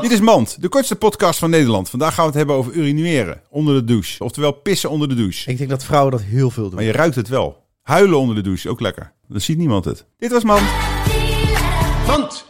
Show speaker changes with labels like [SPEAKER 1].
[SPEAKER 1] Dit is Mand, de kortste podcast van Nederland. Vandaag gaan we het hebben over urineren onder de douche. Oftewel pissen onder de douche.
[SPEAKER 2] Ik denk dat vrouwen dat heel veel
[SPEAKER 1] Maar
[SPEAKER 2] doen.
[SPEAKER 1] je ruikt het wel. Huilen onder de douche, ook lekker. Dan ziet niemand het. Dit was Mand.